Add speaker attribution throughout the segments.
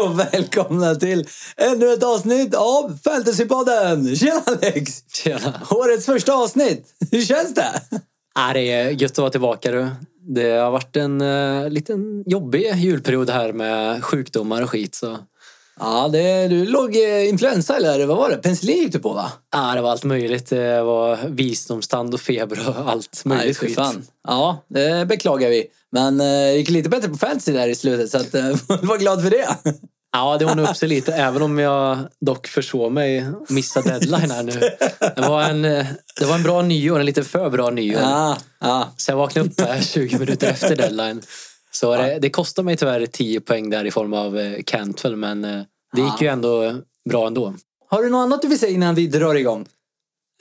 Speaker 1: välkomna till ännu ett avsnitt av Fantasypodden! Tjena Alex!
Speaker 2: Tjena.
Speaker 1: Årets första avsnitt. Hur känns det?
Speaker 2: Ah, det är gött att vara tillbaka du. Det har varit en eh, liten jobbig julperiod här med sjukdomar och skit. Så.
Speaker 1: Ja, det, du låg eh, influensa eller vad var det? Penicillin gick du på va?
Speaker 2: Ah, det var allt möjligt. Det var visdomstand och feber och allt möjligt
Speaker 1: Nej, fy
Speaker 2: skit.
Speaker 1: fan. Ja, det beklagar vi. Men eh, det gick lite bättre på fantasy där i slutet så att, eh, var glad för det.
Speaker 2: Ja, det ordnade upp sig lite, även om jag dock försov mig och missade deadline här nu. Det var, en, eh, det var en bra nyår, en lite för bra nyår.
Speaker 1: Ja, ja.
Speaker 2: Sen vaknade jag upp där 20 minuter efter deadline. Så det, det kostade mig tyvärr 10 poäng där i form av eh, Cantwell, men eh, det gick ju ändå bra ändå.
Speaker 1: Har du något annat du vill säga innan vi drar igång?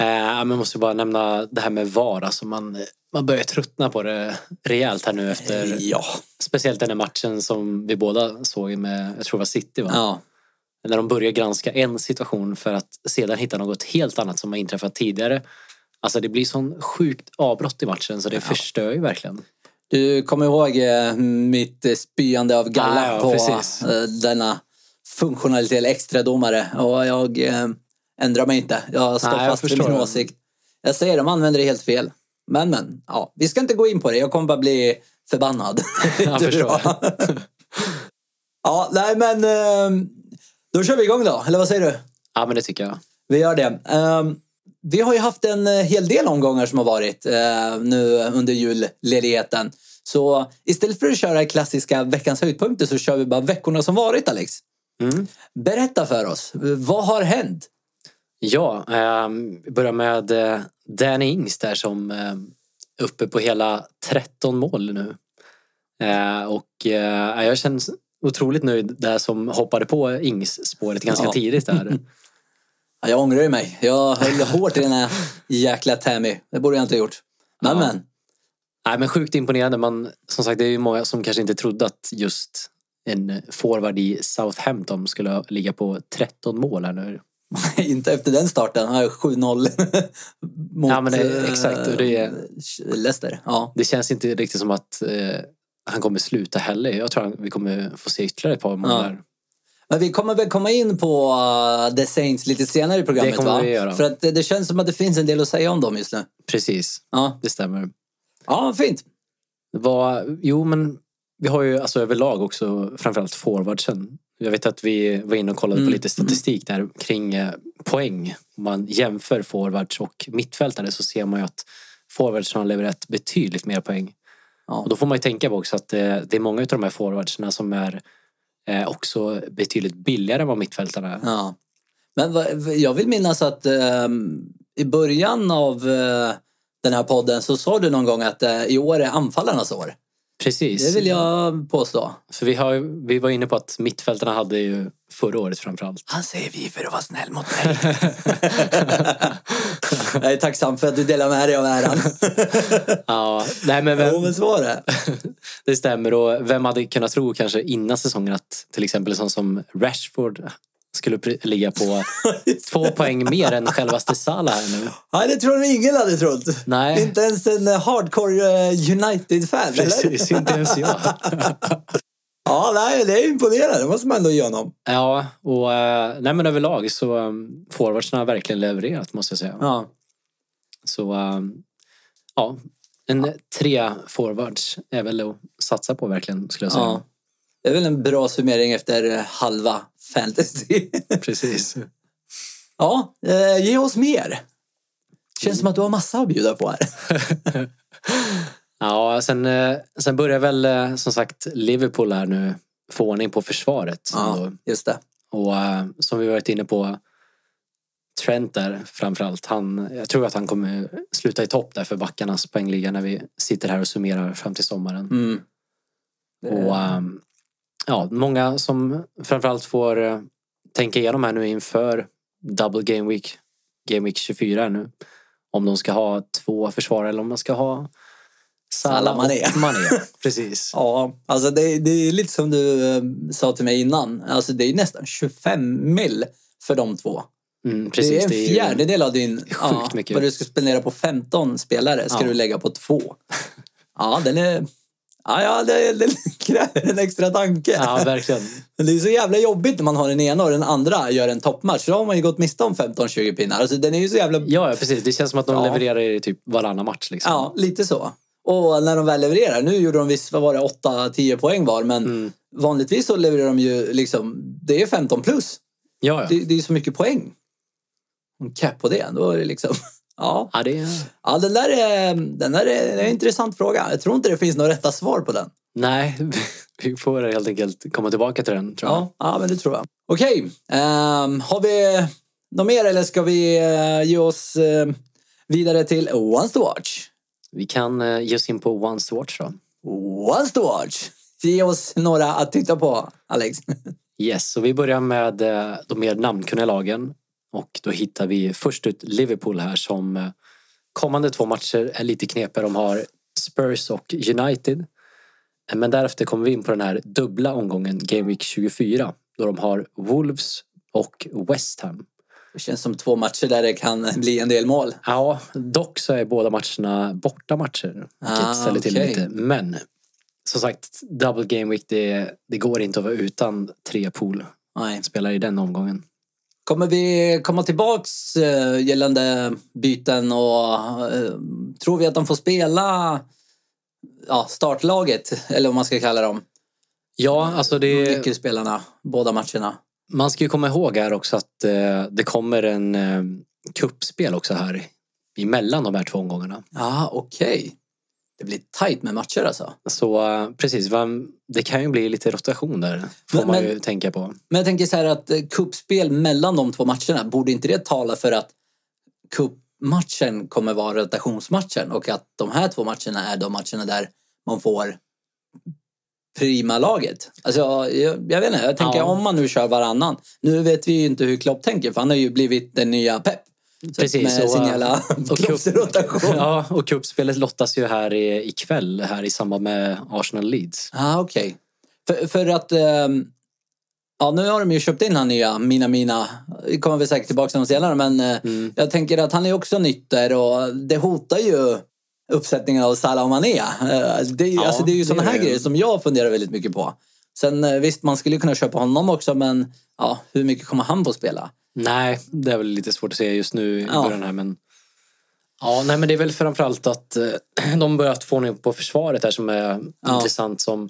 Speaker 2: Eh, men jag måste bara nämna det här med VAR. Alltså man, man börjar tröttna på det rejält här nu efter.
Speaker 1: Ja.
Speaker 2: Speciellt den här matchen som vi båda såg med, jag tror det var City va?
Speaker 1: ja.
Speaker 2: När de börjar granska en situation för att sedan hitta något helt annat som har inträffat tidigare. Alltså det blir sån sjukt avbrott i matchen så det förstör ju verkligen.
Speaker 1: Du kommer ihåg eh, mitt eh, spyande av galla
Speaker 2: Ja, ja,
Speaker 1: på
Speaker 2: precis.
Speaker 1: eh, denna funktionalitet eller extradomare. Och jag eh, ändrar mig inte. Jag står
Speaker 2: Nej, jag
Speaker 1: fast vid
Speaker 2: förstår
Speaker 1: min
Speaker 2: det.
Speaker 1: åsikt. Jag säger de använder det helt fel. Men men, ja, vi ska inte gå in på det. Jag kommer bara bli förbannad.
Speaker 2: Jag
Speaker 1: Du
Speaker 2: förstår.
Speaker 1: då? ja, nej men eh, då kör vi igång då. Eller vad säger du?
Speaker 2: Ja men det tycker jag.
Speaker 1: Vi gör det. Ehm, vi har ju haft en eh, hel del omgångar som har varit eh, nu under julledigheten. Så istället för att köra klassiska veckans höjdpunkter så kör vi bara veckorna som varit, Alex.
Speaker 2: Mm.
Speaker 1: Berätta för oss, eh, vad har hänt?
Speaker 2: Ja, ehm, vi börjar med eh, Danny Ings där som eh, uppe på hela 13 mål nu. Eh, och eh, jag känns otroligt nöjd där som hoppade på Ings-spåret ganska
Speaker 1: Ja.
Speaker 2: tidigt där.
Speaker 1: Ja, jag ångrar ju mig. Jag höll hårt i den här jäkla Tammy. Det borde jag inte ha gjort. Men,
Speaker 2: Ja.
Speaker 1: men.
Speaker 2: Nej, men sjukt imponerande. Man, som sagt, det är ju många som kanske inte trodde att just en forward i Southampton skulle ligga på 13 mål här nu.
Speaker 1: inte efter den starten. Ja, 7-0 mot
Speaker 2: Ja, men det- exakt, och det är-
Speaker 1: eh, Leicester. Ja.
Speaker 2: Det känns inte riktigt som att eh, han kommer sluta heller. Jag tror att vi kommer få se ytterligare ett par mål
Speaker 1: Ja.
Speaker 2: där.
Speaker 1: Men vi kommer väl komma in på uh, The Saints lite senare i programmet
Speaker 2: Det kommer
Speaker 1: va?
Speaker 2: vi göra.
Speaker 1: För att det, det känns som att det finns en del att säga om dem just nu.
Speaker 2: Precis,
Speaker 1: Ja,
Speaker 2: det stämmer.
Speaker 1: ja fint.
Speaker 2: Det var, jo, men vi har ju alltså överlag också framförallt forwardsen. Jag vet att vi var inne och kollade
Speaker 1: Mm.
Speaker 2: på lite statistik där kring eh, poäng. Om man jämför forwards och mittfältare så ser man ju att forwards har levererat betydligt mer poäng.
Speaker 1: Ja.
Speaker 2: Och då får man ju tänka på också att eh, det är många av de här forwardserna som är eh, också betydligt billigare än vad mittfältarna är.
Speaker 1: Ja. Men vad- v- jag vill minnas att ehm, i början av eh, den här podden så sa du någon gång att eh, i år är anfallarnas år.
Speaker 2: Precis.
Speaker 1: Det vill jag påstå.
Speaker 2: För vi, har, ju- vi var inne på att mittfältarna hade ju förra året framförallt
Speaker 1: Han säger vi för att vara snäll mot mig. jag är tacksam för att du delar med dig av äran.
Speaker 2: Ja, nej men
Speaker 1: Jo,
Speaker 2: vem,
Speaker 1: men så var det.
Speaker 2: det stämmer. Och vem hade kunnat tro kanske innan säsongen att till exempel en sån som Rashford skulle pri- ligga på två poäng mer än självaste Salah här nu.
Speaker 1: Nej, det tror jag ingen hade trott.
Speaker 2: Nej.
Speaker 1: Inte ens en eh, hardcore eh, United-fan, eller?
Speaker 2: Precis, inte ens jag.
Speaker 1: Ja, nej, det är imponerande. Det måste man ändå ge honom.
Speaker 2: Ja, och eh, nej men överlag så um, forwardsarna har verkligen levererat måste jag säga.
Speaker 1: Ja.
Speaker 2: Så um, ja, en tre forwards är väl att satsa på verkligen skulle jag säga.
Speaker 1: ja. Det är väl en bra summering efter eh, halva fantasy.
Speaker 2: Precis.
Speaker 1: ja, eh, ge oss mer. Känns som att du har massa att bjuda på här.
Speaker 2: Ja, sen, eh, sen börjar väl eh, som sagt Liverpool här nu få ordning på försvaret. ändå.
Speaker 1: just det.
Speaker 2: Och eh, som vi varit inne på Trent där framförallt. Han, jag tror att han kommer sluta i topp där för backarnas poängliga när vi sitter här och summerar fram till sommaren.
Speaker 1: Mm. Eh,
Speaker 2: Och ehm, ja, många som framförallt får eh, tänka igenom här nu inför Double Game Week, Game Week 24 här nu. Om de ska ha två försvarare eller om man ska ha
Speaker 1: Salah
Speaker 2: Salah och
Speaker 1: Mané.
Speaker 2: Mané. Precis.
Speaker 1: Ja, alltså det, det är lite som du eh, sa till mig innan. Alltså det är nästan 25 mil för de två.
Speaker 2: Mm, precis.
Speaker 1: det är en
Speaker 2: ju-
Speaker 1: fjärdedel av din... Sjukt
Speaker 2: mycket.
Speaker 1: Vad du ska spendera på 15 spelare ska
Speaker 2: Ja.
Speaker 1: du lägga på två. Ja, den är... Ja, ja det, det kräver en extra tanke.
Speaker 2: Ja, verkligen.
Speaker 1: Men det är så jävla jobbigt när man har den ena och den andra gör en toppmatch. Då har man ju gått miste om 15-20 pinnar. Alltså, den är ju så jävla...
Speaker 2: Ja, ja, precis. Det känns som att de
Speaker 1: Ja.
Speaker 2: levererar i typ varannan match. Liksom.
Speaker 1: Ja, lite så. Och när de väl levererar, nu gjorde de visst, vad var det, 8-10 poäng var, men
Speaker 2: Mm.
Speaker 1: vanligtvis så levererar de ju liksom, det är 15 plus.
Speaker 2: Ja, ja.
Speaker 1: Det, det är ju så mycket poäng. En cap på det, då är det liksom, ja.
Speaker 2: ja det är...
Speaker 1: Ja, den där är, den där är, det är en intressant fråga. Jag tror inte det finns några rätta svar på den.
Speaker 2: Nej, vi får helt enkelt komma tillbaka till den. Tror jag.
Speaker 1: Ja, ja men det tror jag. Okej, ehm, har vi något mer eller ska vi eh, ge oss eh, vidare till Once to Watch?
Speaker 2: Vi kan eh, ge oss in på Once to Watch då.
Speaker 1: Once to Watch! Ge oss några att titta på, Alex.
Speaker 2: Yes, så vi börjar med eh, de mer namnkunniga lagen. Och då hittar vi först ut Liverpool här som eh, kommande två matcher är lite knepiga. De har Spurs och United. Eh, Men därefter kommer vi in på den här dubbla omgången Game Week 24 då de har Wolves och West Ham.
Speaker 1: Det känns som två matcher där det kan bli en del mål.
Speaker 2: Ja, dock så är båda matcherna bortamatcher. Vilket
Speaker 1: Ah,
Speaker 2: ställer till
Speaker 1: okej.
Speaker 2: lite. Men som sagt, double game week, det, det går inte att vara utan tre poolspelare
Speaker 1: Nej.
Speaker 2: i den omgången.
Speaker 1: Kommer vi komma tillbaks eh, gällande byten och eh, tror vi att de får spela ja, startlaget, eller vad man ska kalla dem?
Speaker 2: Ja, alltså det,
Speaker 1: Nyckelspelarna, båda matcherna.
Speaker 2: man ska ju komma ihåg här också att eh, det kommer en eh, kuppspel också här emellan de här två omgångarna.
Speaker 1: Ja, okej. Det blir tajt med matcher alltså.
Speaker 2: Så eh, precis, vem- det kan ju bli lite rotation där. Får
Speaker 1: Men-
Speaker 2: man
Speaker 1: men-
Speaker 2: ju tänka på.
Speaker 1: Men jag tänker så här att eh, kuppspel mellan de två matcherna, borde inte det tala för att kuppmatchen kommer vara rotationsmatchen och att de här två matcherna är de matcherna där man får prima laget. Alltså, jag, jag vet inte, jag tänker
Speaker 2: Ja.
Speaker 1: om man nu kör varannan. Nu vet vi ju inte hur Klopp tänker för han har ju blivit den nya Pep. Så
Speaker 2: Precis,
Speaker 1: med
Speaker 2: och,
Speaker 1: sin
Speaker 2: eh,
Speaker 1: jävla
Speaker 2: och cup-
Speaker 1: kroppsrotation. Ja,
Speaker 2: Ja, och kuppspelet lottas ju här i- ikväll här i samband med Arsenal-Leeds.
Speaker 1: ah, okej. För, för att... ehm, ja, nu har de ju köpt in han nya Mina Mina. Vi kommer väl säkert tillbaka till honom senare men eh,
Speaker 2: Mm.
Speaker 1: Jag tänker att han är också nytter och det hotar ju uppsättningen av Salah och Mané. Eh, Det är, ju-
Speaker 2: Ja,
Speaker 1: alltså det är ju
Speaker 2: det
Speaker 1: sådana här
Speaker 2: är det.
Speaker 1: grejer som jag funderar väldigt mycket på. Sen eh, visst, man skulle ju kunna köpa honom också men ja, hur mycket kommer han få spela?
Speaker 2: Nej, det är väl lite svårt att säga just nu i
Speaker 1: Ja.
Speaker 2: början här men... Ja, nej men det är väl framförallt att eh, de börjat få ordning på försvaret här som är
Speaker 1: Ja.
Speaker 2: intressant som...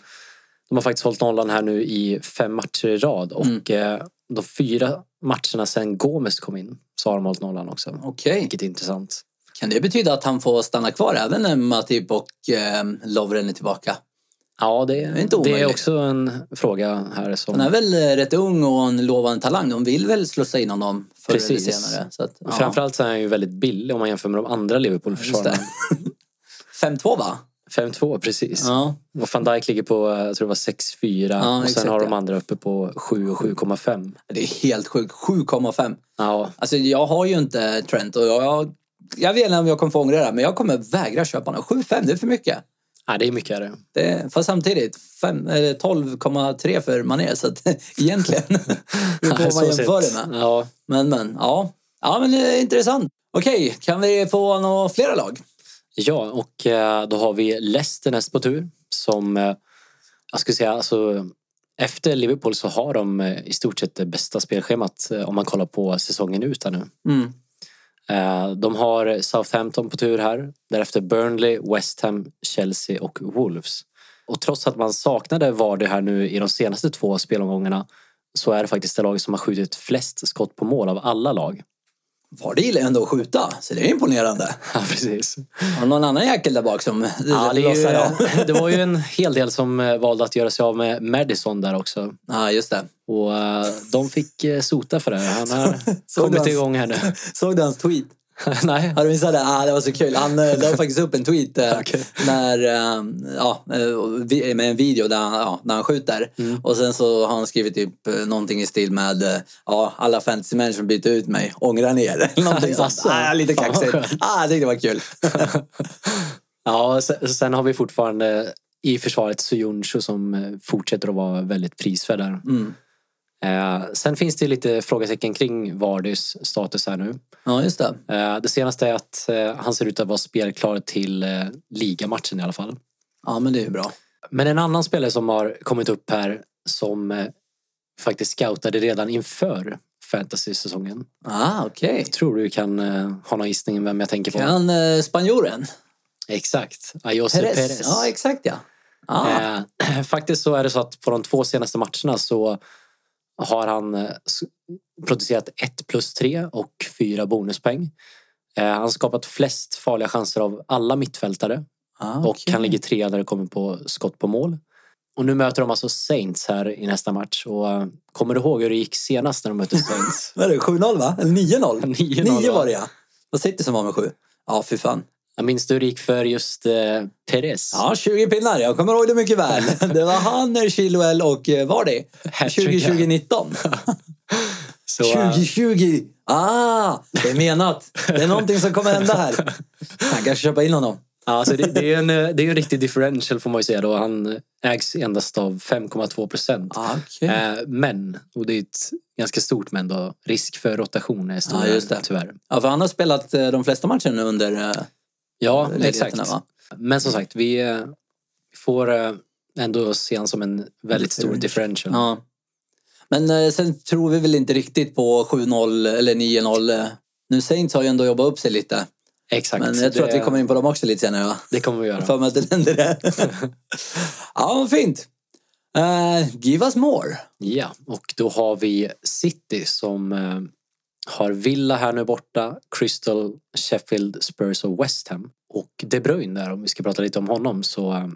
Speaker 2: De har faktiskt hållit nollan här nu i fem matcher i rad och
Speaker 1: Mm.
Speaker 2: eh, de fyra matcherna sen Gomes kom in så har de hållit nollan också.
Speaker 1: Okej,
Speaker 2: Vilket är intressant.
Speaker 1: kan det betyda att han får stanna kvar även när Matip och eh, Lovren är tillbaka?
Speaker 2: Ja, det,
Speaker 1: är inte
Speaker 2: det är
Speaker 1: omöjligt.
Speaker 2: också en fråga här som...
Speaker 1: Han är väl eh, rätt ung och en lovande talang. De vill väl slussa in honom förr eller
Speaker 2: Precis.
Speaker 1: senare. Så att, ja.
Speaker 2: Framförallt så är han ju väldigt billig om man jämför med de andra Liverpool-försvararna.
Speaker 1: Just 5-2 va?
Speaker 2: 5-2, precis.
Speaker 1: Ja.
Speaker 2: Och van Dijk ligger på, eh, jag tror det var 6-4
Speaker 1: Ja,
Speaker 2: och
Speaker 1: exakt,
Speaker 2: sen har de
Speaker 1: ja.
Speaker 2: andra uppe på 7 och 7,5.
Speaker 1: Det är helt sjukt. 7,5.
Speaker 2: Ja,
Speaker 1: Alltså jag har ju inte Trent och jag, jag vet inte om jag kommer få ångra det här, men jag kommer vägra köpa honom. 7,5 det är för mycket.
Speaker 2: nej, det är mycket är det.
Speaker 1: Det är, fast samtidigt fem- eller 12,3 för Mané så att, egentligen. Hur
Speaker 2: Ja,
Speaker 1: får man
Speaker 2: så
Speaker 1: jämföra
Speaker 2: sett.
Speaker 1: det med?
Speaker 2: Ja.
Speaker 1: Men men ja. Ja men det är intressant. Okej, kan vi få några flera lag?
Speaker 2: ja, och eh, då har vi Leicester näst på tur som eh, jag skulle säga alltså efter Liverpool så har de eh, i stort sett det bästa spelschemat eh, om man kollar på säsongen ut här nu.
Speaker 1: Mm.
Speaker 2: Eh, De har Southampton på tur här. Därefter Burnley, West Ham, Chelsea och Wolves. Och trots att man saknade Vardy här nu i de senaste två spelomgångarna så är det faktiskt det laget som har skjutit flest skott på mål av alla lag.
Speaker 1: Vardy gillar ju ändå att skjuta, så det är imponerande.
Speaker 2: Ja, precis.
Speaker 1: Har någon annan jäkel där bak som
Speaker 2: Ja, det, är
Speaker 1: lossar av?
Speaker 2: ju, det var ju en hel del som eh, valde att göra sig av med Madison där också.
Speaker 1: Ja, just det.
Speaker 2: Och eh, de fick eh, sota för det. Han
Speaker 1: såg
Speaker 2: har
Speaker 1: du
Speaker 2: kommit
Speaker 1: hans-
Speaker 2: igång här nu.
Speaker 1: Såg du hans tweet?
Speaker 2: Nej.
Speaker 1: Har du missat det? Ah, det var så kul. Han eh, la faktiskt upp en tweet eh,
Speaker 2: Okej.
Speaker 1: när, eh, ja, eh, vi- med en video där han, ja, när han skjuter. Och sen så har han skrivit typ eh, någonting i stil med eh, ja, alla fantasymän som byter ut mig, ångrar ni er? Eller någonting sånt.
Speaker 2: Alltså.
Speaker 1: Ah, lite
Speaker 2: Fan,
Speaker 1: kaxigt.
Speaker 2: vad skönt.
Speaker 1: Ah, jag tyckte det var kul.
Speaker 2: Ja, och sen, sen har vi fortfarande i försvaret Sujuncu som eh, fortsätter att vara väldigt prisvärd där.
Speaker 1: Mm.
Speaker 2: Eh, sen finns det lite frågetecken kring Vardys status här nu.
Speaker 1: Ja, just det.
Speaker 2: Eh, det senaste är att eh, han ser ut att vara spelklar till eh, ligamatchen i alla fall.
Speaker 1: Ja, men det är ju bra.
Speaker 2: Men en annan spelare som har kommit upp här som eh, faktiskt scoutade redan inför fantasy-säsongen.
Speaker 1: Ah, okej.
Speaker 2: Tror du kan eh, ha någon gissning om vem jag tänker på?
Speaker 1: Kan eh, spanjoren?
Speaker 2: Exakt. Ayose
Speaker 1: Perez.
Speaker 2: Perez.
Speaker 1: Ja, exakt ja. Ah,
Speaker 2: Eh, faktiskt så är det så att på de två senaste matcherna så har han eh, s- producerat 1 plus 3 och 4 bonuspoäng. Eh, han har skapat flest farliga chanser av alla mittfältare
Speaker 1: ah,
Speaker 2: och
Speaker 1: okej.
Speaker 2: han ligger trea när det kommer på skott på mål. Och nu möter de alltså Saints här i nästa match. Och eh, kommer du ihåg hur det gick senast när de mötte Saints?
Speaker 1: Vad är det, 7-0 va? Eller 9-0?
Speaker 2: 9-0.
Speaker 1: 9 var
Speaker 2: va?
Speaker 1: det ja. Vad City som var med 7. Ja, fy fan.
Speaker 2: Jag minns du hur det gick för just eh, Perez?
Speaker 1: Ja, 20 pinnar. Jag kommer ihåg det mycket väl. Det var han, Chilwell och eh, Vardy.
Speaker 2: Hattrick,
Speaker 1: 2020-19.
Speaker 2: Så, eh,
Speaker 1: 2020! Ah, det är menat. Det är någonting som kommer hända här. Han kanske köpa in honom.
Speaker 2: Ja, alltså det, det, är en, eh, det är en riktig differential får man ju säga då. Han ägs endast av 5,2 procent.
Speaker 1: Ah, okej.
Speaker 2: Eh, men, och det är ett ganska stort men då, risk för rotation är stor
Speaker 1: Ja, just det.
Speaker 2: tyvärr.
Speaker 1: Ja, för han har spelat eh, de flesta matcherna nu under eh,
Speaker 2: Ja, exakt.
Speaker 1: ledigheterna va?
Speaker 2: Men som sagt, vi eh, får eh, ändå se han som en väldigt stor differential.
Speaker 1: Ja. Men eh, sen tror vi väl inte riktigt på 7-0 eller 9-0. eh. Nu Saints har ju ändå jobbat upp sig lite.
Speaker 2: Exakt.
Speaker 1: Men jag tror
Speaker 2: det,
Speaker 1: att vi kommer in på dem också lite senare va?
Speaker 2: det kommer vi göra.
Speaker 1: för mig att det händer det. ja, vad fint. Eh, give us more.
Speaker 2: Ja, och då har vi City som eh, har Villa här nu borta, Crystal, Sheffield, Spurs och West Ham. Och De Bruyne där, om vi ska prata lite om honom, så eh,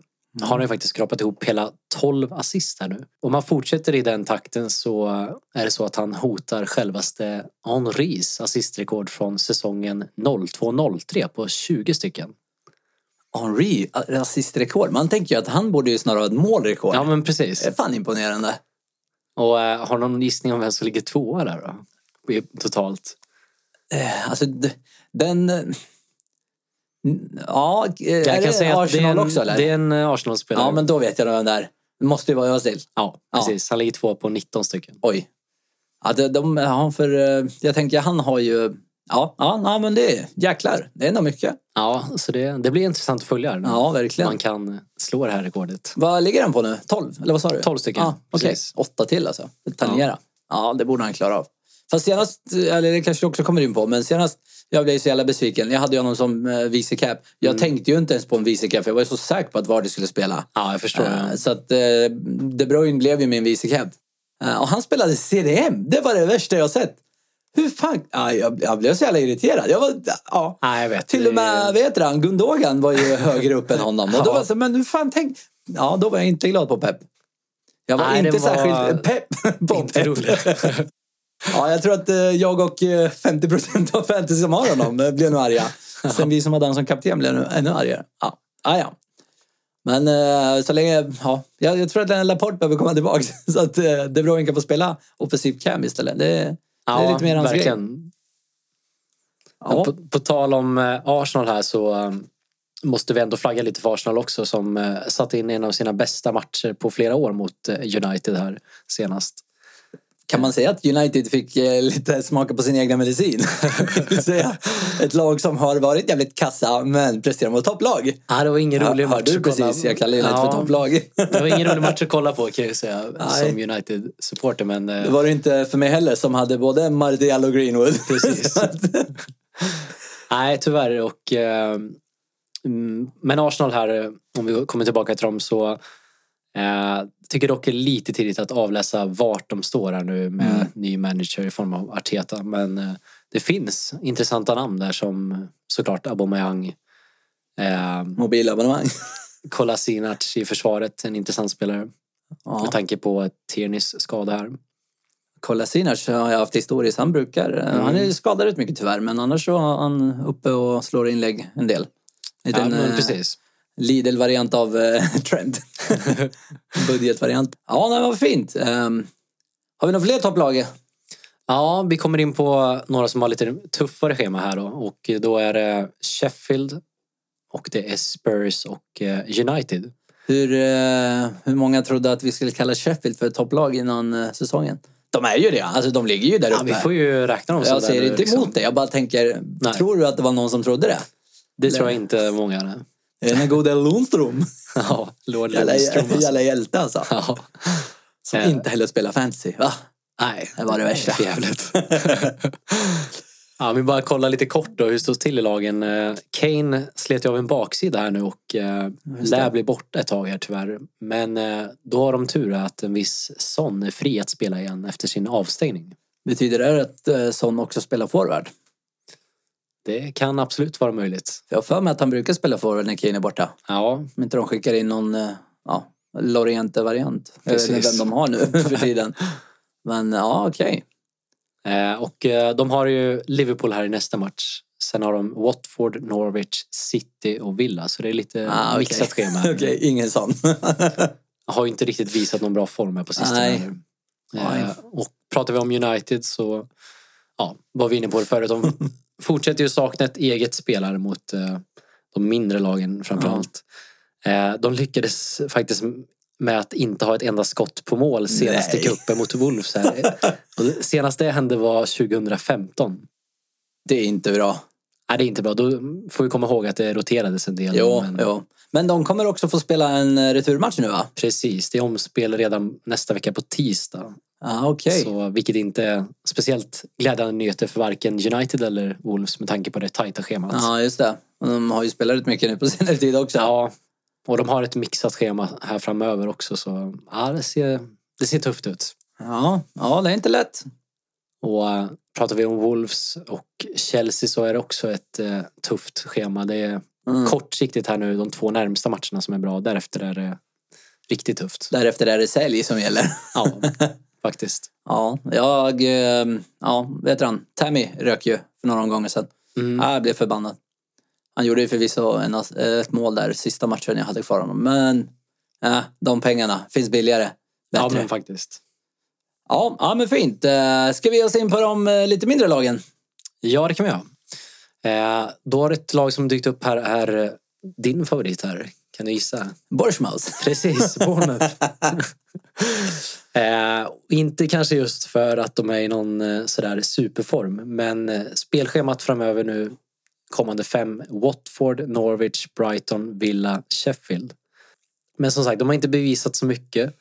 Speaker 2: har han ju faktiskt skrapat ihop hela 12 assist här nu. Om han fortsätter i den takten så eh, är det så att han hotar självaste Henris assistrekord från säsongen 02-03 på 20 stycken.
Speaker 1: Henri, eh, rasistrekord. Man tänker ju att han borde ju snarare ha ett målrekord.
Speaker 2: Ja, men precis.
Speaker 1: Det är fan imponerande.
Speaker 2: Och eh, har någon gissning om vem som ligger tvåa där då? I- Totalt.
Speaker 1: Eh, Alltså, d- den... eh, n- Ja, eh, är
Speaker 2: Jag kan
Speaker 1: det
Speaker 2: säga att det är
Speaker 1: Arsenal
Speaker 2: en,
Speaker 1: också eller?
Speaker 2: det är en eh, Arsenal-spelare.
Speaker 1: Ja, men då vet jag vem det är. Det måste ju vara Özil.
Speaker 2: Ja,
Speaker 1: Ja.
Speaker 2: precis. Han ligger två på 19 stycken.
Speaker 1: Oj. Ja, de, de, han för, eh, jag tänker, han har ju... Ja, ja, ja men det är jäklar. Det är nog mycket.
Speaker 2: Ja, så det, det blir intressant att följa. Ja.
Speaker 1: Ja, verkligen.
Speaker 2: Man kan eh, slå det här rekordet.
Speaker 1: Vad ligger den på nu? 12? Eller vad sa du?
Speaker 2: 12 stycken,
Speaker 1: Ja, okej.
Speaker 2: precis.
Speaker 1: Åtta till alltså. Tangera. Ja. det borde han klara av. Fast senast, eh, eller det kanske du också kommer in på, men senast jag blev så jävla besviken. Jag hade ju honom som eh, vice cap. Jag tänkte ju inte ens på en vice cap, för jag var ju så säker på att Vardy skulle spela.
Speaker 2: Ja, jag förstår.
Speaker 1: Eh, Så att eh, De Bruyne blev ju min vice cap. Eh, och han spelade CDM. Det var det värsta jag sett. Hur fan... Ah, jag, jag blev så jävla irriterad. Jag var... Ja.
Speaker 2: Nej, jag vet.
Speaker 1: Till och med, vad heter han, Gundogan var ju högre upp än honom. Och då
Speaker 2: Ja.
Speaker 1: var jag så, men hur fan tänk... Ja, då var jag inte glad på Pep. Jag var
Speaker 2: Nej, det
Speaker 1: inte
Speaker 2: var-
Speaker 1: särskilt pepp på
Speaker 2: Inte
Speaker 1: Pep.
Speaker 2: roligt.
Speaker 1: Ja, jag tror att eh, jag och eh, 50 procent av fantasy som har honom eh, blev nog arga. Sen vi som hade honom som kapten blev nu ännu argare. Ja, ah, ja. Men eh, så länge, ja. Jag, jag tror att den Laporte behöver komma tillbaka. Så att eh, De Bruyne kan få spela offensiv cam istället. Det, det är lite mer hans grej.
Speaker 2: verkligen.
Speaker 1: Ja.
Speaker 2: På, på tal om eh, Arsenal här så eh, måste vi ändå flagga lite för Arsenal också som eh, satte in en av sina bästa matcher på flera år mot eh, United här senast.
Speaker 1: Kan man säga att United fick eh, lite smaka på sin egna medicin? Det vill säga, ett lag som har varit jävligt kassa men presterar mot topplag.
Speaker 2: Ja, det var ingen rolig match
Speaker 1: Hörde du
Speaker 2: att kolla.
Speaker 1: precis? Jag kallar United för topplag.
Speaker 2: Det var ingen rolig match att kolla på kan jag säga
Speaker 1: Nej.
Speaker 2: som United-supporter. Men eh,
Speaker 1: Det var det inte för mig heller som hade både Martial och Greenwood.
Speaker 2: Precis.
Speaker 1: Så att-
Speaker 2: nej, tyvärr. Och, eh, mm, men Arsenal här, eh, om vi kommer tillbaka till dem så eh, tycker dock det är lite tidigt att avläsa vart de står här nu med
Speaker 1: Mm.
Speaker 2: ny manager i form av Arteta. Men eh, det finns intressanta namn där som såklart Aubameyang, eh,
Speaker 1: Mobilabonnemang.
Speaker 2: Kolasinac i försvaret, en intressant spelare med
Speaker 1: Ja.
Speaker 2: tanke på Tiernys skada här.
Speaker 1: Kolasinac har jag haft historiskt. Han brukar... eh, Han är
Speaker 2: Mm.
Speaker 1: ju skadad rätt mycket tyvärr men annars så är han uppe och slår inlägg en del. En
Speaker 2: Ja,
Speaker 1: liten
Speaker 2: men
Speaker 1: eh,
Speaker 2: precis.
Speaker 1: Lidl-variant av eh, Trent. Budgetvariant. Ja, nej, vad fint. Ehm, har vi några fler topplag?
Speaker 2: Ja, vi kommer in på några som har lite tuffare schema här då. Och då är det Sheffield och det är Spurs och eh, United.
Speaker 1: Hur, eh, hur många trodde att vi skulle kalla Sheffield för ett topplag innan eh, säsongen? De är ju det. Alltså, de ligger ju där
Speaker 2: Ja,
Speaker 1: uppe.
Speaker 2: vi får ju räkna dem
Speaker 1: jag
Speaker 2: där
Speaker 1: säger
Speaker 2: nu,
Speaker 1: inte emot
Speaker 2: liksom.
Speaker 1: det. Jag bara tänker, tror du att det var någon som trodde det?
Speaker 2: Det tror jag inte många. Nej.
Speaker 1: Eh, Den gode Lundström.
Speaker 2: Ja, Lord
Speaker 1: Jävla,
Speaker 2: Lundström. alltså.
Speaker 1: jävla hjälte alltså.
Speaker 2: Ja.
Speaker 1: Som
Speaker 2: Eh.
Speaker 1: inte heller spelar fantasy. Va?
Speaker 2: Nej,
Speaker 1: Det var det värsta.
Speaker 2: För jävligt. ja, vi bara kolla lite kort då hur det står till i lagen. Eh, Kane slet ju av en baksida här nu och eh,
Speaker 1: just det.
Speaker 2: lär bli borta ett tag här tyvärr. Men eh, då har de tur att en viss Son är fri att spela igen efter sin avstängning.
Speaker 1: Betyder det att eh, Son också spelar forward?
Speaker 2: Det kan absolut vara möjligt.
Speaker 1: För Jag har för mig att han brukar spela forward när Kane är borta.
Speaker 2: Ja,
Speaker 1: Om inte de skickar in någon eh, ja, Loriente-variant. Jag vet inte
Speaker 2: Precis.
Speaker 1: vem de har nu för tiden. Men ja, okej.
Speaker 2: Eh, Och eh, de har ju Liverpool här i nästa match. Sen har de Watford, Norwich, City och Villa. Så det är lite
Speaker 1: Ah, okej.
Speaker 2: mixat schema.
Speaker 1: Okej, ingen sån.
Speaker 2: Har ju inte riktigt visat någon bra form här på sistone.
Speaker 1: Nej.
Speaker 2: heller.
Speaker 1: Nej.
Speaker 2: Eh, Och pratar vi om United så ja, var vi inne på det förut. De fortsätter ju sakna ett eget spelare mot eh, de mindre lagen framför
Speaker 1: Ja.
Speaker 2: allt. Eh, De lyckades faktiskt med att inte ha ett enda skott på mål senaste
Speaker 1: Nej.
Speaker 2: cupen mot Wolves. Här. Och det senaste det hände var 2015.
Speaker 1: det är inte bra.
Speaker 2: Nej, det är inte bra. Då får vi komma ihåg att det roterades en del.
Speaker 1: Jo,
Speaker 2: men
Speaker 1: jo. Men de kommer också få spela en eh, returmatch nu va?
Speaker 2: Precis, det är omspel redan nästa vecka på tisdag.
Speaker 1: Ah, okej.
Speaker 2: Så, vilket inte är speciellt glädjande nyheter för varken United eller Wolves med tanke på det tajta schemat.
Speaker 1: Ja, just det. Och De har ju spelat rätt mycket nu på senare tid också.
Speaker 2: Ja, och de har ett mixat schema här framöver också. Så ja, det, ser, det ser tufft ut.
Speaker 1: Ja, ja det är inte lätt.
Speaker 2: Och eh, pratar vi om Wolves och Chelsea så är det också ett eh, tufft schema. Det är
Speaker 1: Mm.
Speaker 2: kortsiktigt här nu de två närmsta matcherna som är bra. Därefter är det riktigt tufft.
Speaker 1: Därefter är det sälj som gäller.
Speaker 2: Ja, faktiskt.
Speaker 1: Ja, jag... eh, Ja, vet du han? Tammy rök ju för några omgångar sedan.
Speaker 2: Mm.
Speaker 1: Ah, jag blev förbannad. Han gjorde ju förvisso en, ass- eh, ett mål där, sista matchen jag hade kvar honom. Men eh, de pengarna finns billigare.
Speaker 2: Ja,
Speaker 1: Bättre.
Speaker 2: men faktiskt.
Speaker 1: Ja, ja, men fint. Eh, Ska vi ge oss in på de eh, lite mindre lagen?
Speaker 2: Ja, det kan vi göra. Eh, då har ett lag som dykt upp här är eh, din favorit här. Kan du gissa?
Speaker 1: Borsmaus.
Speaker 2: Precis, Bournemouth. eh, inte kanske just för att de är i någon eh, sådär superform, men eh, spelschemat framöver nu kommande fem Watford, Norwich, Brighton, Villa, Sheffield. Men som sagt, de har inte bevisat så mycket.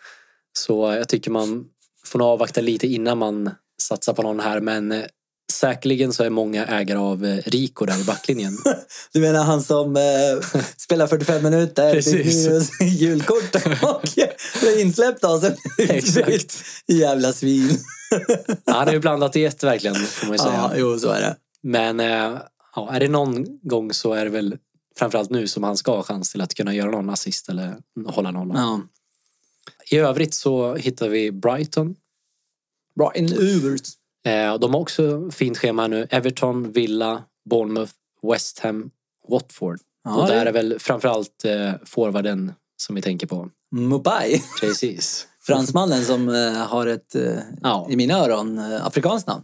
Speaker 2: Så jag tycker man får nog avvakta lite innan man satsar på någon här. Men eh, säkerligen så är många ägare av eh, Rico där i backlinjen.
Speaker 1: Du menar han som eh, spelar 45 minuter,
Speaker 2: Precis.
Speaker 1: fick ju julkort och blev insläppt av sig.
Speaker 2: Exakt.
Speaker 1: Jävla svin.
Speaker 2: Han är ju blandat i ett verkligen, får man ju säga.
Speaker 1: Ja, jo, så är det.
Speaker 2: Men eh, ja, är det någon gång så är det väl framförallt nu som han ska ha chans till att kunna göra någon assist eller hålla nollan.
Speaker 1: Ja.
Speaker 2: I övrigt så hittar vi Brighton.
Speaker 1: Bra, en Ubers.
Speaker 2: Eh, och de har också fint schema nu. Everton, Villa, Bournemouth, West Ham, Watford.
Speaker 1: Ja,
Speaker 2: och där
Speaker 1: det-
Speaker 2: är väl framförallt eh, forwarden som vi tänker på.
Speaker 1: Mopai.
Speaker 2: Precis.
Speaker 1: Fransmannen som eh, har ett, eh,
Speaker 2: Ja,
Speaker 1: i mina öron, eh, afrikanskt namn.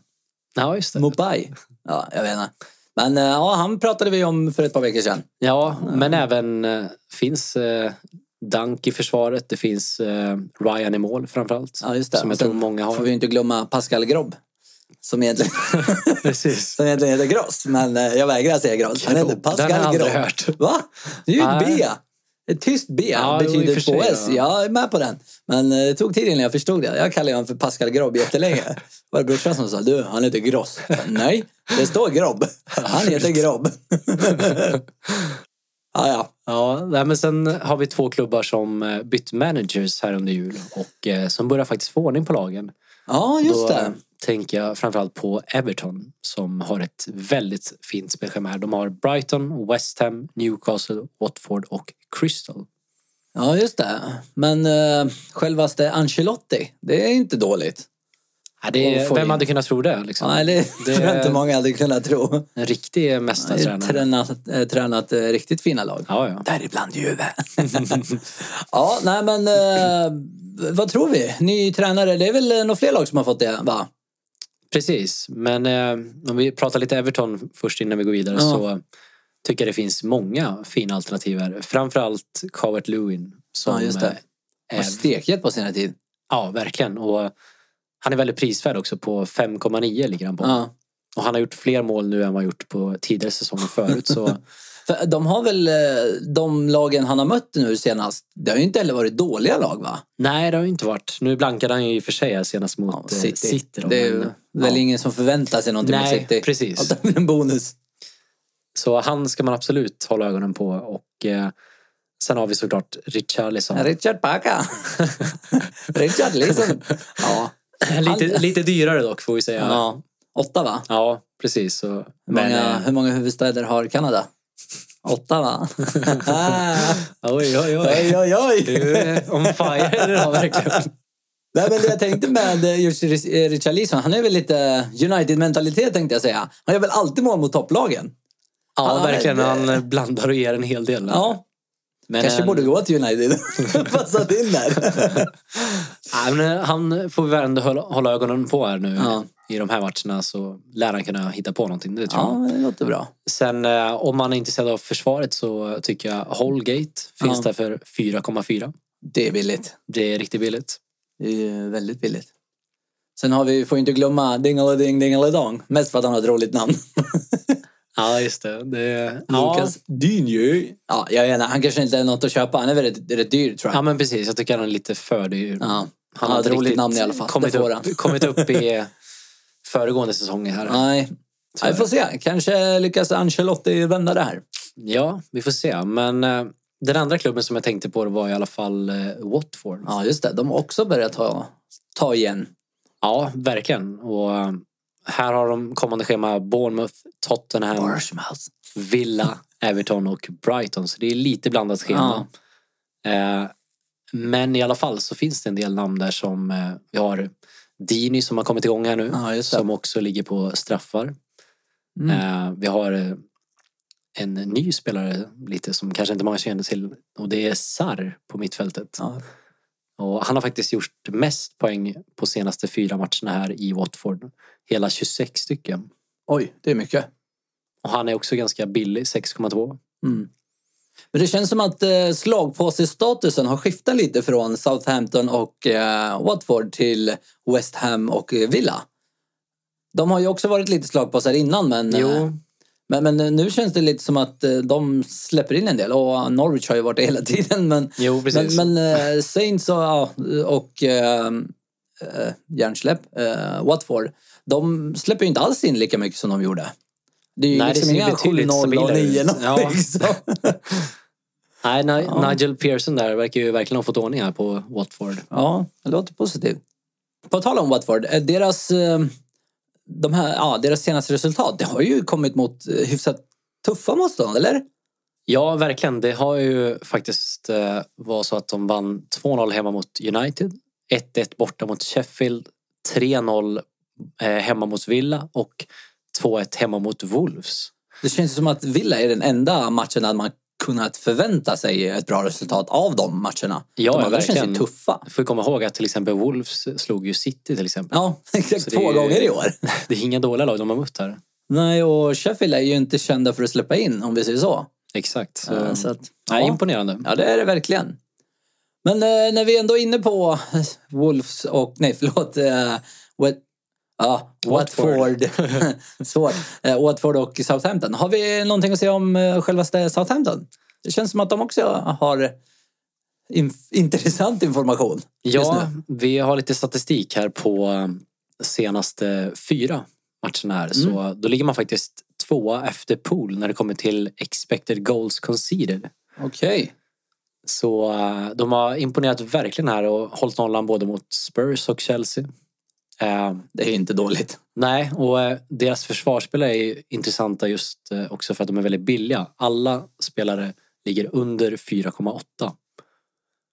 Speaker 2: ja just det.
Speaker 1: Mopai. Ja, jag vet inte. Men eh, ja, han pratade vi om för ett par veckor sedan.
Speaker 2: Ja, men även eh, finns eh, Dunk i försvaret. Det finns eh, Ryan i mål framförallt.
Speaker 1: Ja, just det.
Speaker 2: Som jag
Speaker 1: Och sen
Speaker 2: tror många har.
Speaker 1: Får vi ju inte glömma Pascal Grobb. Som egentligen,
Speaker 2: Precis.
Speaker 1: som egentligen heter Gross, men eh, jag vägrar säga Gross. Han heter
Speaker 2: Grob. Den har jag
Speaker 1: Pascal
Speaker 2: aldrig
Speaker 1: Grobb.
Speaker 2: hört.
Speaker 1: Va? Det är ju ett B.
Speaker 2: Nej.
Speaker 1: Ett tyst B
Speaker 2: Ja, jo, i och
Speaker 1: betyder
Speaker 2: för sig,
Speaker 1: 2S.
Speaker 2: ja.
Speaker 1: Jag är med på den. Men eh, det tog tid innan jag förstod det. Jag kallade honom för Pascal Grobb jättelänge. Det var brorsan som sa, du han heter Gross. Jag sa, Nej, det står Grobb. Han heter Grobb. ja, ja.
Speaker 2: Ja, nej, men sen har vi två klubbar som eh, bytt managers här under jul och eh, som börjar faktiskt få ordning på lagen.
Speaker 1: Ja, just
Speaker 2: Då eh,
Speaker 1: det.
Speaker 2: tänker jag framförallt på Everton som har ett väldigt fint spelschema här. De har Brighton, West Ham, Newcastle, Watford och Crystal.
Speaker 1: Ja, just det. Men eh, självaste Ancelotti, det är inte dåligt.
Speaker 2: Ja, det
Speaker 1: Och
Speaker 2: är,
Speaker 1: får
Speaker 2: vem
Speaker 1: in-
Speaker 2: hade kunnat tro det? Liksom?
Speaker 1: Nej, det
Speaker 2: Det-
Speaker 1: tror jag inte många hade kunnat tro.
Speaker 2: En riktig
Speaker 1: Han har ju
Speaker 2: mästartränare.
Speaker 1: tränat, eh, tränat eh, riktigt fina lag.
Speaker 2: Ja, ja.
Speaker 1: Däribland Juve. ja, nej men eh, vad tror vi? Ny tränare, det är väl eh, några fler lag som har fått det va?
Speaker 2: Precis, men eh, om vi pratar lite Everton först innan vi går vidare
Speaker 1: Ja.
Speaker 2: så tycker jag det finns många fina alternativ här. Framförallt Calvert Lewin. Som,
Speaker 1: Ja, just det.
Speaker 2: eh,
Speaker 1: Har
Speaker 2: Är,
Speaker 1: stekhet på senare tid.
Speaker 2: ja, verkligen. Och han är väldigt prisvärd också. På 5,9 ligger han på.
Speaker 1: Ja.
Speaker 2: Och han har gjort fler mål nu än vad han gjort på tidigare säsonger förut. Så
Speaker 1: För de har väl eh, de lagen han har mött nu senast. Det har ju inte heller varit dåliga lag va?
Speaker 2: Nej, det har ju inte varit. Nu blankade han ju i och för sig här senast mot eh, City. då,
Speaker 1: det är ju
Speaker 2: men,
Speaker 1: väl
Speaker 2: ja.
Speaker 1: ingen som förväntar sig någonting
Speaker 2: Nej,
Speaker 1: av City.
Speaker 2: precis.
Speaker 1: Att det blir en bonus.
Speaker 2: Så han ska man absolut hålla ögonen på. Och eh, sen har vi såklart Richarlison.
Speaker 1: Richard Paka. Richard Lisson. Ja.
Speaker 2: lite, lite dyrare dock får vi säga. Ja,
Speaker 1: ja. Åtta va?
Speaker 2: precis. Så.
Speaker 1: Hur många,
Speaker 2: Men, eh,
Speaker 1: hur många huvudstäder har Kanada? Åtta va? Ah,
Speaker 2: eh, oj, oj, oj.
Speaker 1: oj, oj, oj.
Speaker 2: Du är on fire idag verkligen.
Speaker 1: Nej, men det jag tänkte med eh, just Richarlison, han är väl lite United-mentalitet tänkte jag säga. Han gör väl alltid mål mot topplagen.
Speaker 2: Ja,
Speaker 1: Ja,
Speaker 2: verkligen.
Speaker 1: det-
Speaker 2: Han blandar och ger en hel del.
Speaker 1: Ja,
Speaker 2: men,
Speaker 1: kanske
Speaker 2: eh,
Speaker 1: borde gå till United. Passat in där.
Speaker 2: nej, men, eh, han får vi väl ändå hålla, hålla ögonen på här nu.
Speaker 1: Ja.
Speaker 2: I de här matcherna så lär han kunna hitta på någonting. Det tror jag.
Speaker 1: ja, det låter bra.
Speaker 2: Sen eh, om man är intresserad av försvaret så tycker jag Holgate finns
Speaker 1: Ja.
Speaker 2: där för 4,4.
Speaker 1: Det är billigt.
Speaker 2: Det är riktigt billigt.
Speaker 1: Det är ju väldigt billigt. Sen har vi, får ju inte glömma Dingelading Dingeladong. Mest för att han har ett roligt namn.
Speaker 2: Ja, just det. det ja.
Speaker 1: Lucas Dynjö. Ja, jag vet inte. Han kanske inte är något att köpa. Han är väl rätt, rätt dyr tror jag.
Speaker 2: ja, men precis. Jag tycker han är lite för dyr.
Speaker 1: Ja.
Speaker 2: har
Speaker 1: har ett
Speaker 2: inte
Speaker 1: roligt
Speaker 2: riktigt
Speaker 1: namn i alla fall. Det
Speaker 2: Kommit
Speaker 1: får
Speaker 2: upp, kommit upp i föregående säsonger här.
Speaker 1: Nej.
Speaker 2: Så
Speaker 1: Ja,
Speaker 2: är
Speaker 1: vi får se. Kanske lyckas Ancelotti vända det här.
Speaker 2: Ja, vi får se. Men eh, den andra klubben som jag tänkte på var i alla fall eh, Watford.
Speaker 1: Ja, just det. De har också börjat ta, ta igen.
Speaker 2: Ja, verkligen. Och eh, här har de kommande schema Bournemouth, Tottenham,
Speaker 1: Bournemouth.
Speaker 2: Villa, Everton och Brighton. Så det är lite blandat schema. Eh, men i alla fall så finns det en del namn där som eh, vi har Dini som har kommit igång här nu.
Speaker 1: Ja, just det.
Speaker 2: som också ligger på straffar.
Speaker 1: Mm.
Speaker 2: Eh, vi har eh, en ny spelare lite som kanske inte många känner till och det är Sar på mittfältet.
Speaker 1: Ja.
Speaker 2: Och han har faktiskt gjort mest poäng på senaste fyra matcherna här i Watford. Hela 26 stycken.
Speaker 1: Oj, det är mycket.
Speaker 2: Och han är också ganska billig, 6,2.
Speaker 1: Mm. Men det känns som att eh, slagpåsestatusen har skiftat lite från Southampton och eh, Watford till West Ham och eh, Villa. De har ju också varit lite slagpåsar innan men, eh,
Speaker 2: Jo,
Speaker 1: men, men eh, nu känns det lite som att eh, de släpper in en del. Och Norwich har ju varit det hela tiden men,
Speaker 2: jo, precis.
Speaker 1: men, men eh, Saints och, ja, och eh, eh, järnsläpp, eh, Watford, de släpper ju inte alls in lika mycket som de gjorde. Det är ju
Speaker 2: Nej, det
Speaker 1: liksom
Speaker 2: ser ju
Speaker 1: inga
Speaker 2: betydligt
Speaker 1: 7-0 och
Speaker 2: stabilare ut.
Speaker 1: 9-0
Speaker 2: Ja.
Speaker 1: liksom.
Speaker 2: Nej, Ni-
Speaker 1: Ja.
Speaker 2: Nigel Pearson där verkar ju verkligen ha fått ordning här på Watford.
Speaker 1: Ja, det låter positivt. På tal om Watford, eh, deras, eh, de här, ja, deras senaste resultat, det har ju kommit mot eh, hyfsat tuffa motstånd, eller?
Speaker 2: Ja, verkligen. Det har ju faktiskt eh, var så att de vann 2-0 hemma mot United, 1-1 borta mot Sheffield, 3-0 eh, hemma mot Villa och 2-1 hemma mot Wolves.
Speaker 1: Det känns som att Villa är den enda matchen där man kunnat förvänta sig ett bra resultat av de matcherna.
Speaker 2: Ja,
Speaker 1: de
Speaker 2: ja,
Speaker 1: andra känns ju
Speaker 2: verkligen.
Speaker 1: tuffa.
Speaker 2: Får ju komma ihåg att till exempel Wolves slog ju City till exempel.
Speaker 1: Ja,
Speaker 2: Så
Speaker 1: exakt
Speaker 2: det
Speaker 1: två
Speaker 2: är ju-
Speaker 1: gånger i år.
Speaker 2: Det är inga dåliga lag de har mött här.
Speaker 1: Nej, och Sheffield är ju inte kända för att släppa in, om vi säger så.
Speaker 2: Exakt. Så,
Speaker 1: Eh, Så att,
Speaker 2: nej,
Speaker 1: ja.
Speaker 2: imponerande.
Speaker 1: Ja, det är det verkligen. Men eh, när vi ändå är inne på Wolves och, nej förlåt, eh, Wat, ja,
Speaker 2: Watford.
Speaker 1: Watford. Svårt. Eh, Watford och Southampton. Har vi någonting att säga om eh, självaste Southampton? Det känns som att de också har inf- intressant information. just
Speaker 2: Ja, vi har lite statistik här på eh, senaste fyra matcherna här. Så då ligger man faktiskt tvåa efter pool när det kommer till expected goals conceded.
Speaker 1: Okej.
Speaker 2: Så eh, de har imponerat verkligen här och hållit nollan både mot Spurs och Chelsea. Eh,
Speaker 1: Det är ju inte dåligt.
Speaker 2: nej, och eh, deras försvarsspelare är ju intressanta just eh, också för att de är väldigt billiga. Alla spelare ligger under 4,8.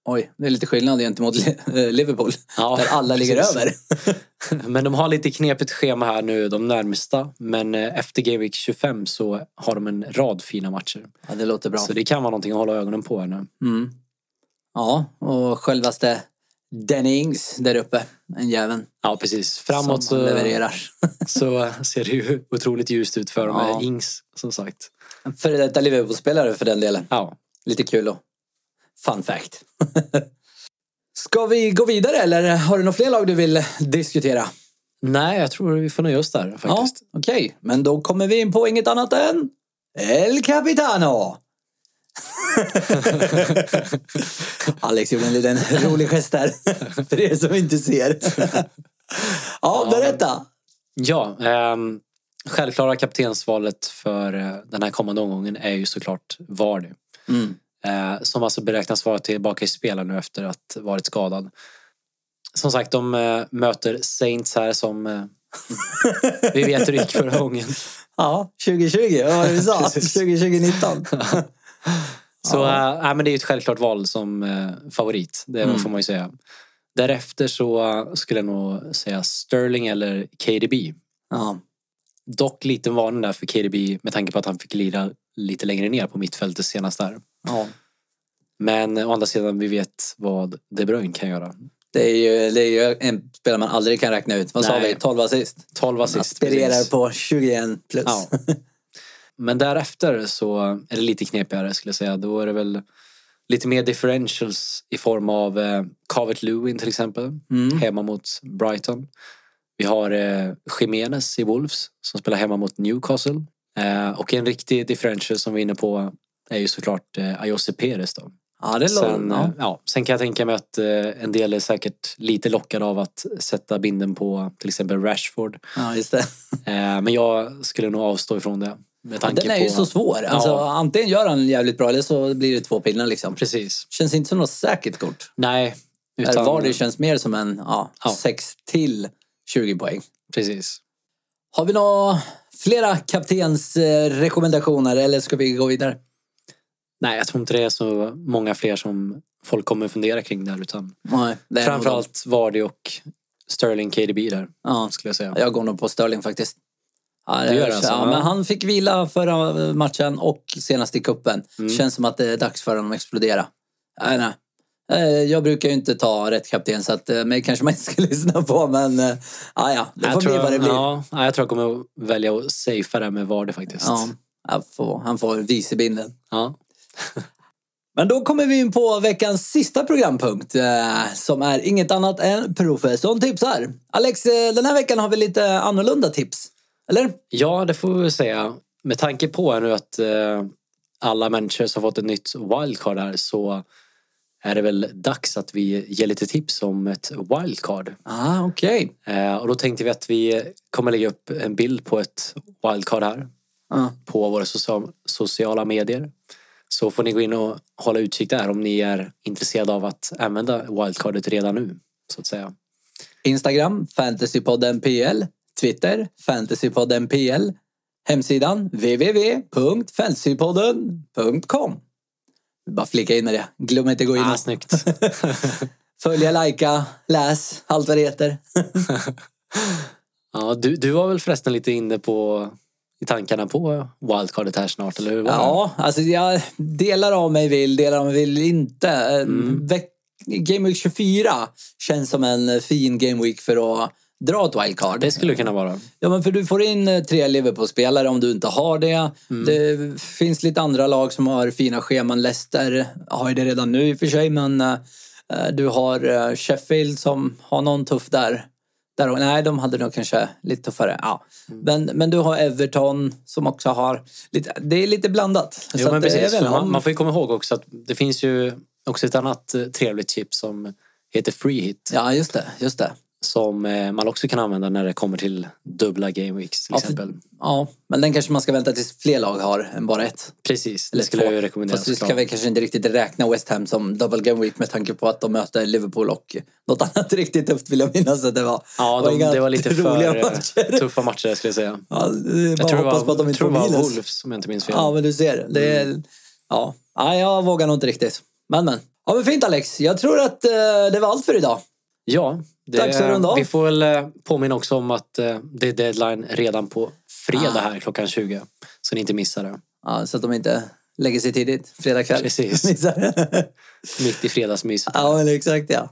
Speaker 1: Oj, det är lite skillnad gentemot Li- eh, Liverpool.
Speaker 2: Ja,
Speaker 1: där alla ligger
Speaker 2: precis.
Speaker 1: över.
Speaker 2: Men de har lite knepigt schema här nu de närmsta. Men eh, efter Game Week 25 så har de en rad fina matcher.
Speaker 1: Ja, det låter bra.
Speaker 2: Så det kan vara någonting att hålla ögonen på här nu.
Speaker 1: Mm. Ja, och självaste Dennings där uppe. En jäveln.
Speaker 2: Ja, precis.
Speaker 1: som han
Speaker 2: Framåt så,
Speaker 1: levererar.
Speaker 2: så ser det ju otroligt ljust ut för dem
Speaker 1: Ja.
Speaker 2: med Ings, som sagt.
Speaker 1: Före detta Liverpool-spelare för den delen.
Speaker 2: Ja.
Speaker 1: Lite kul och fun fact. Ska vi gå vidare eller har du några fler lag du vill diskutera?
Speaker 2: Nej, jag tror vi får nöja oss där faktiskt.
Speaker 1: Ja, okej. Men då kommer vi in på inget annat än El Capitano! Alex gjorde en liten rolig gest där, för er som inte ser. ja, berätta!
Speaker 2: Ja, ehm, självklara kaptensvalet för eh, den här kommande omgången är ju såklart VAR nu.
Speaker 1: Mm.
Speaker 2: Eh, som alltså beräknas vara tillbaka i spel här nu efter att varit skadad. Som sagt, de eh, möter Saints här som eh, vi vet hur det gick förra gången.
Speaker 1: Ja, 2020, vad var det vi sa?
Speaker 2: Precis.
Speaker 1: 2019.
Speaker 2: Så
Speaker 1: Ja.
Speaker 2: eh, nej, men det är ju ett självklart val som eh, favorit, det
Speaker 1: Mm.
Speaker 2: får man ju säga. Därefter så eh, skulle jag nog säga Sterling eller KDB.
Speaker 1: Ja.
Speaker 2: Dock liten varning där för KDB med tanke på att han fick lira lite längre ner på mittfältet senast där.
Speaker 1: Ja.
Speaker 2: Men eh, å andra sidan, vi vet vad De Bruyne kan göra.
Speaker 1: Det är ju, det är ju en spelare man aldrig kan räkna ut. Vad sa
Speaker 2: Nej.
Speaker 1: vi? 12 assist?
Speaker 2: 12 assist.
Speaker 1: Aspirerar
Speaker 2: precis.
Speaker 1: på 21 plus.
Speaker 2: Ja. Men därefter så är det lite knepigare skulle jag säga. Då är det väl lite mer differentials i form av eh, Calvert Lewin till exempel.
Speaker 1: Mm.
Speaker 2: Hemma mot Brighton. Vi har eh, Jimenez i Wolves som spelar hemma mot Newcastle. Eh, och en riktig differential som vi är inne på är ju såklart eh, Ayose Perez då.
Speaker 1: Ja, det låter...
Speaker 2: Sen, eh,
Speaker 1: ja.
Speaker 2: ja, sen kan jag tänka mig att eh, en del är säkert lite lockade av att sätta binden på till exempel Rashford.
Speaker 1: ja, just det.
Speaker 2: Eh, men jag skulle nog avstå ifrån det. Med tanke
Speaker 1: Den är
Speaker 2: på...
Speaker 1: ju så svår. Alltså,
Speaker 2: Ja.
Speaker 1: Antingen gör han jävligt bra eller så blir det två pinnar liksom.
Speaker 2: Precis.
Speaker 1: Känns inte som något säkert kort.
Speaker 2: Nej.
Speaker 1: Utan... Var det känns mer som en ja,
Speaker 2: Ja.
Speaker 1: 6 till 20 poäng.
Speaker 2: Precis.
Speaker 1: Har vi några flera kaptens eh, rekommendationer eller ska vi gå vidare?
Speaker 2: Nej, jag tror inte det är så många fler som folk kommer fundera kring där. Utan
Speaker 1: Nej, det är nog dem.
Speaker 2: framförallt Vardy och Sterling KDB där,
Speaker 1: Ja.
Speaker 2: skulle jag säga.
Speaker 1: Jag går nog på Sterling faktiskt. Ja, eh,
Speaker 2: Du gör
Speaker 1: ja,
Speaker 2: alltså, ja.
Speaker 1: men han fick vila förra eh, matchen och senast i cupen.
Speaker 2: Mm.
Speaker 1: Känns som att det är dags för honom att explodera. Nej, nej. Eh, Jag brukar ju inte ta rätt kapten så att eh, mig kanske man inte ska lyssna på men eh, ja, ja, det
Speaker 2: Jag
Speaker 1: får
Speaker 2: tror
Speaker 1: bli vad det
Speaker 2: jag-
Speaker 1: blir. Ja.
Speaker 2: Ja, nej, jag tror jag kommer att välja att safea det med Vardy faktiskt.
Speaker 1: han får, han får vicebinden.
Speaker 2: Ja.
Speaker 1: Men då kommer vi in på veckans sista programpunkt eh, som är inget annat än professorn tipsar. Alex, eh, den här veckan har vi lite annorlunda tips. Eller?
Speaker 2: ja, det får vi väl säga. Med tanke på här nu att eh, alla människor har fått ett nytt wildcard här så är det väl dags att vi ger lite tips om ett wildcard.
Speaker 1: Ah, okej.
Speaker 2: Eh, och då tänkte vi att vi kommer lägga upp en bild på ett wildcard här
Speaker 1: Ah.
Speaker 2: på våra socia- sociala medier. Så får ni gå in och hålla utkik där om ni är intresserade av att använda wildcardet redan nu. Så att säga.
Speaker 1: Instagram, Fantasypodden PL. Twitter, Fantasypodden PL. Hemsidan, www.fantasypodden.com. Vi bara flika in i det. Glöm inte att gå in
Speaker 2: Ah,
Speaker 1: och
Speaker 2: snyggt.
Speaker 1: följa, lajka, läs, allt vad det heter.
Speaker 2: ja, du, du var väl förresten lite inne på i tankarna på wildcardet här snart, eller hur var det?
Speaker 1: Ja, alltså jag, delar av mig vill, delar av mig vill inte. Mm. Game Week 24 känns som en fin Game Week för att dra ett wildcard.
Speaker 2: Det skulle det kunna vara.
Speaker 1: Ja, men för du får in eh, tre Liverpool-spelare om du inte har det.
Speaker 2: Mm.
Speaker 1: Det finns lite andra lag som har fina scheman. Leicester har ju det redan nu i och för sig, men eh, eh, du har eh, Sheffield som har någon tuff där. där och, nej, de hade nog kanske lite tuffare. Ja.
Speaker 2: Mm.
Speaker 1: Men, men du har Everton som också har lite, det är lite blandat.
Speaker 2: Jo,
Speaker 1: att
Speaker 2: men
Speaker 1: det är
Speaker 2: precis,
Speaker 1: väl
Speaker 2: för man,
Speaker 1: om-
Speaker 2: man får ju komma ihåg också att det finns ju också ett annat eh, trevligt chips som heter free hit.
Speaker 1: Ja, just det. Just det.
Speaker 2: som eh, man också kan använda när det kommer till dubbla game weeks till
Speaker 1: Ja, för-
Speaker 2: exempel.
Speaker 1: Ja, men den kanske man ska vänta tills fler lag har än bara ett.
Speaker 2: Precis,
Speaker 1: Eller
Speaker 2: det skulle
Speaker 1: två.
Speaker 2: jag ju rekommendera
Speaker 1: Fast vi ska
Speaker 2: såklart.
Speaker 1: väl kanske inte riktigt räkna West Ham som double game week med tanke på att de möter Liverpool och något annat riktigt tufft vill jag minnas att det var.
Speaker 2: Ja,
Speaker 1: Och
Speaker 2: de,
Speaker 1: inga
Speaker 2: det var lite för
Speaker 1: roliga
Speaker 2: eh,
Speaker 1: matcher.
Speaker 2: tuffa matcher skulle jag säga.
Speaker 1: Ja, det är
Speaker 2: Jag
Speaker 1: bara
Speaker 2: tror det
Speaker 1: hoppas
Speaker 2: var,
Speaker 1: på att de inte
Speaker 2: tror
Speaker 1: får
Speaker 2: det var Mm.
Speaker 1: minus.
Speaker 2: Wolves om jag inte minns fel.
Speaker 1: Ja, men du ser. Det är, ja. ja, jag vågar nog inte riktigt. Men, men. Ja, men fint Alex. Jag tror att eh, det var allt för idag.
Speaker 2: Ja, det,
Speaker 1: Dags att runda av.
Speaker 2: vi får väl eh, påminna också om att eh, det är deadline redan på fredag
Speaker 1: Ah.
Speaker 2: här klockan 20. Så ni inte missar det.
Speaker 1: Ja, så att de inte lägger sig tidigt fredag kväll.
Speaker 2: Precis.
Speaker 1: Missar.
Speaker 2: Mitt i fredagsmyset.
Speaker 1: ja, men exakt ja.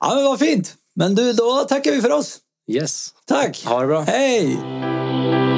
Speaker 1: Ja, men vad fint. Men du, då tackar vi för oss.
Speaker 2: Yes,
Speaker 1: Tack.
Speaker 2: ha det bra.
Speaker 1: Hej!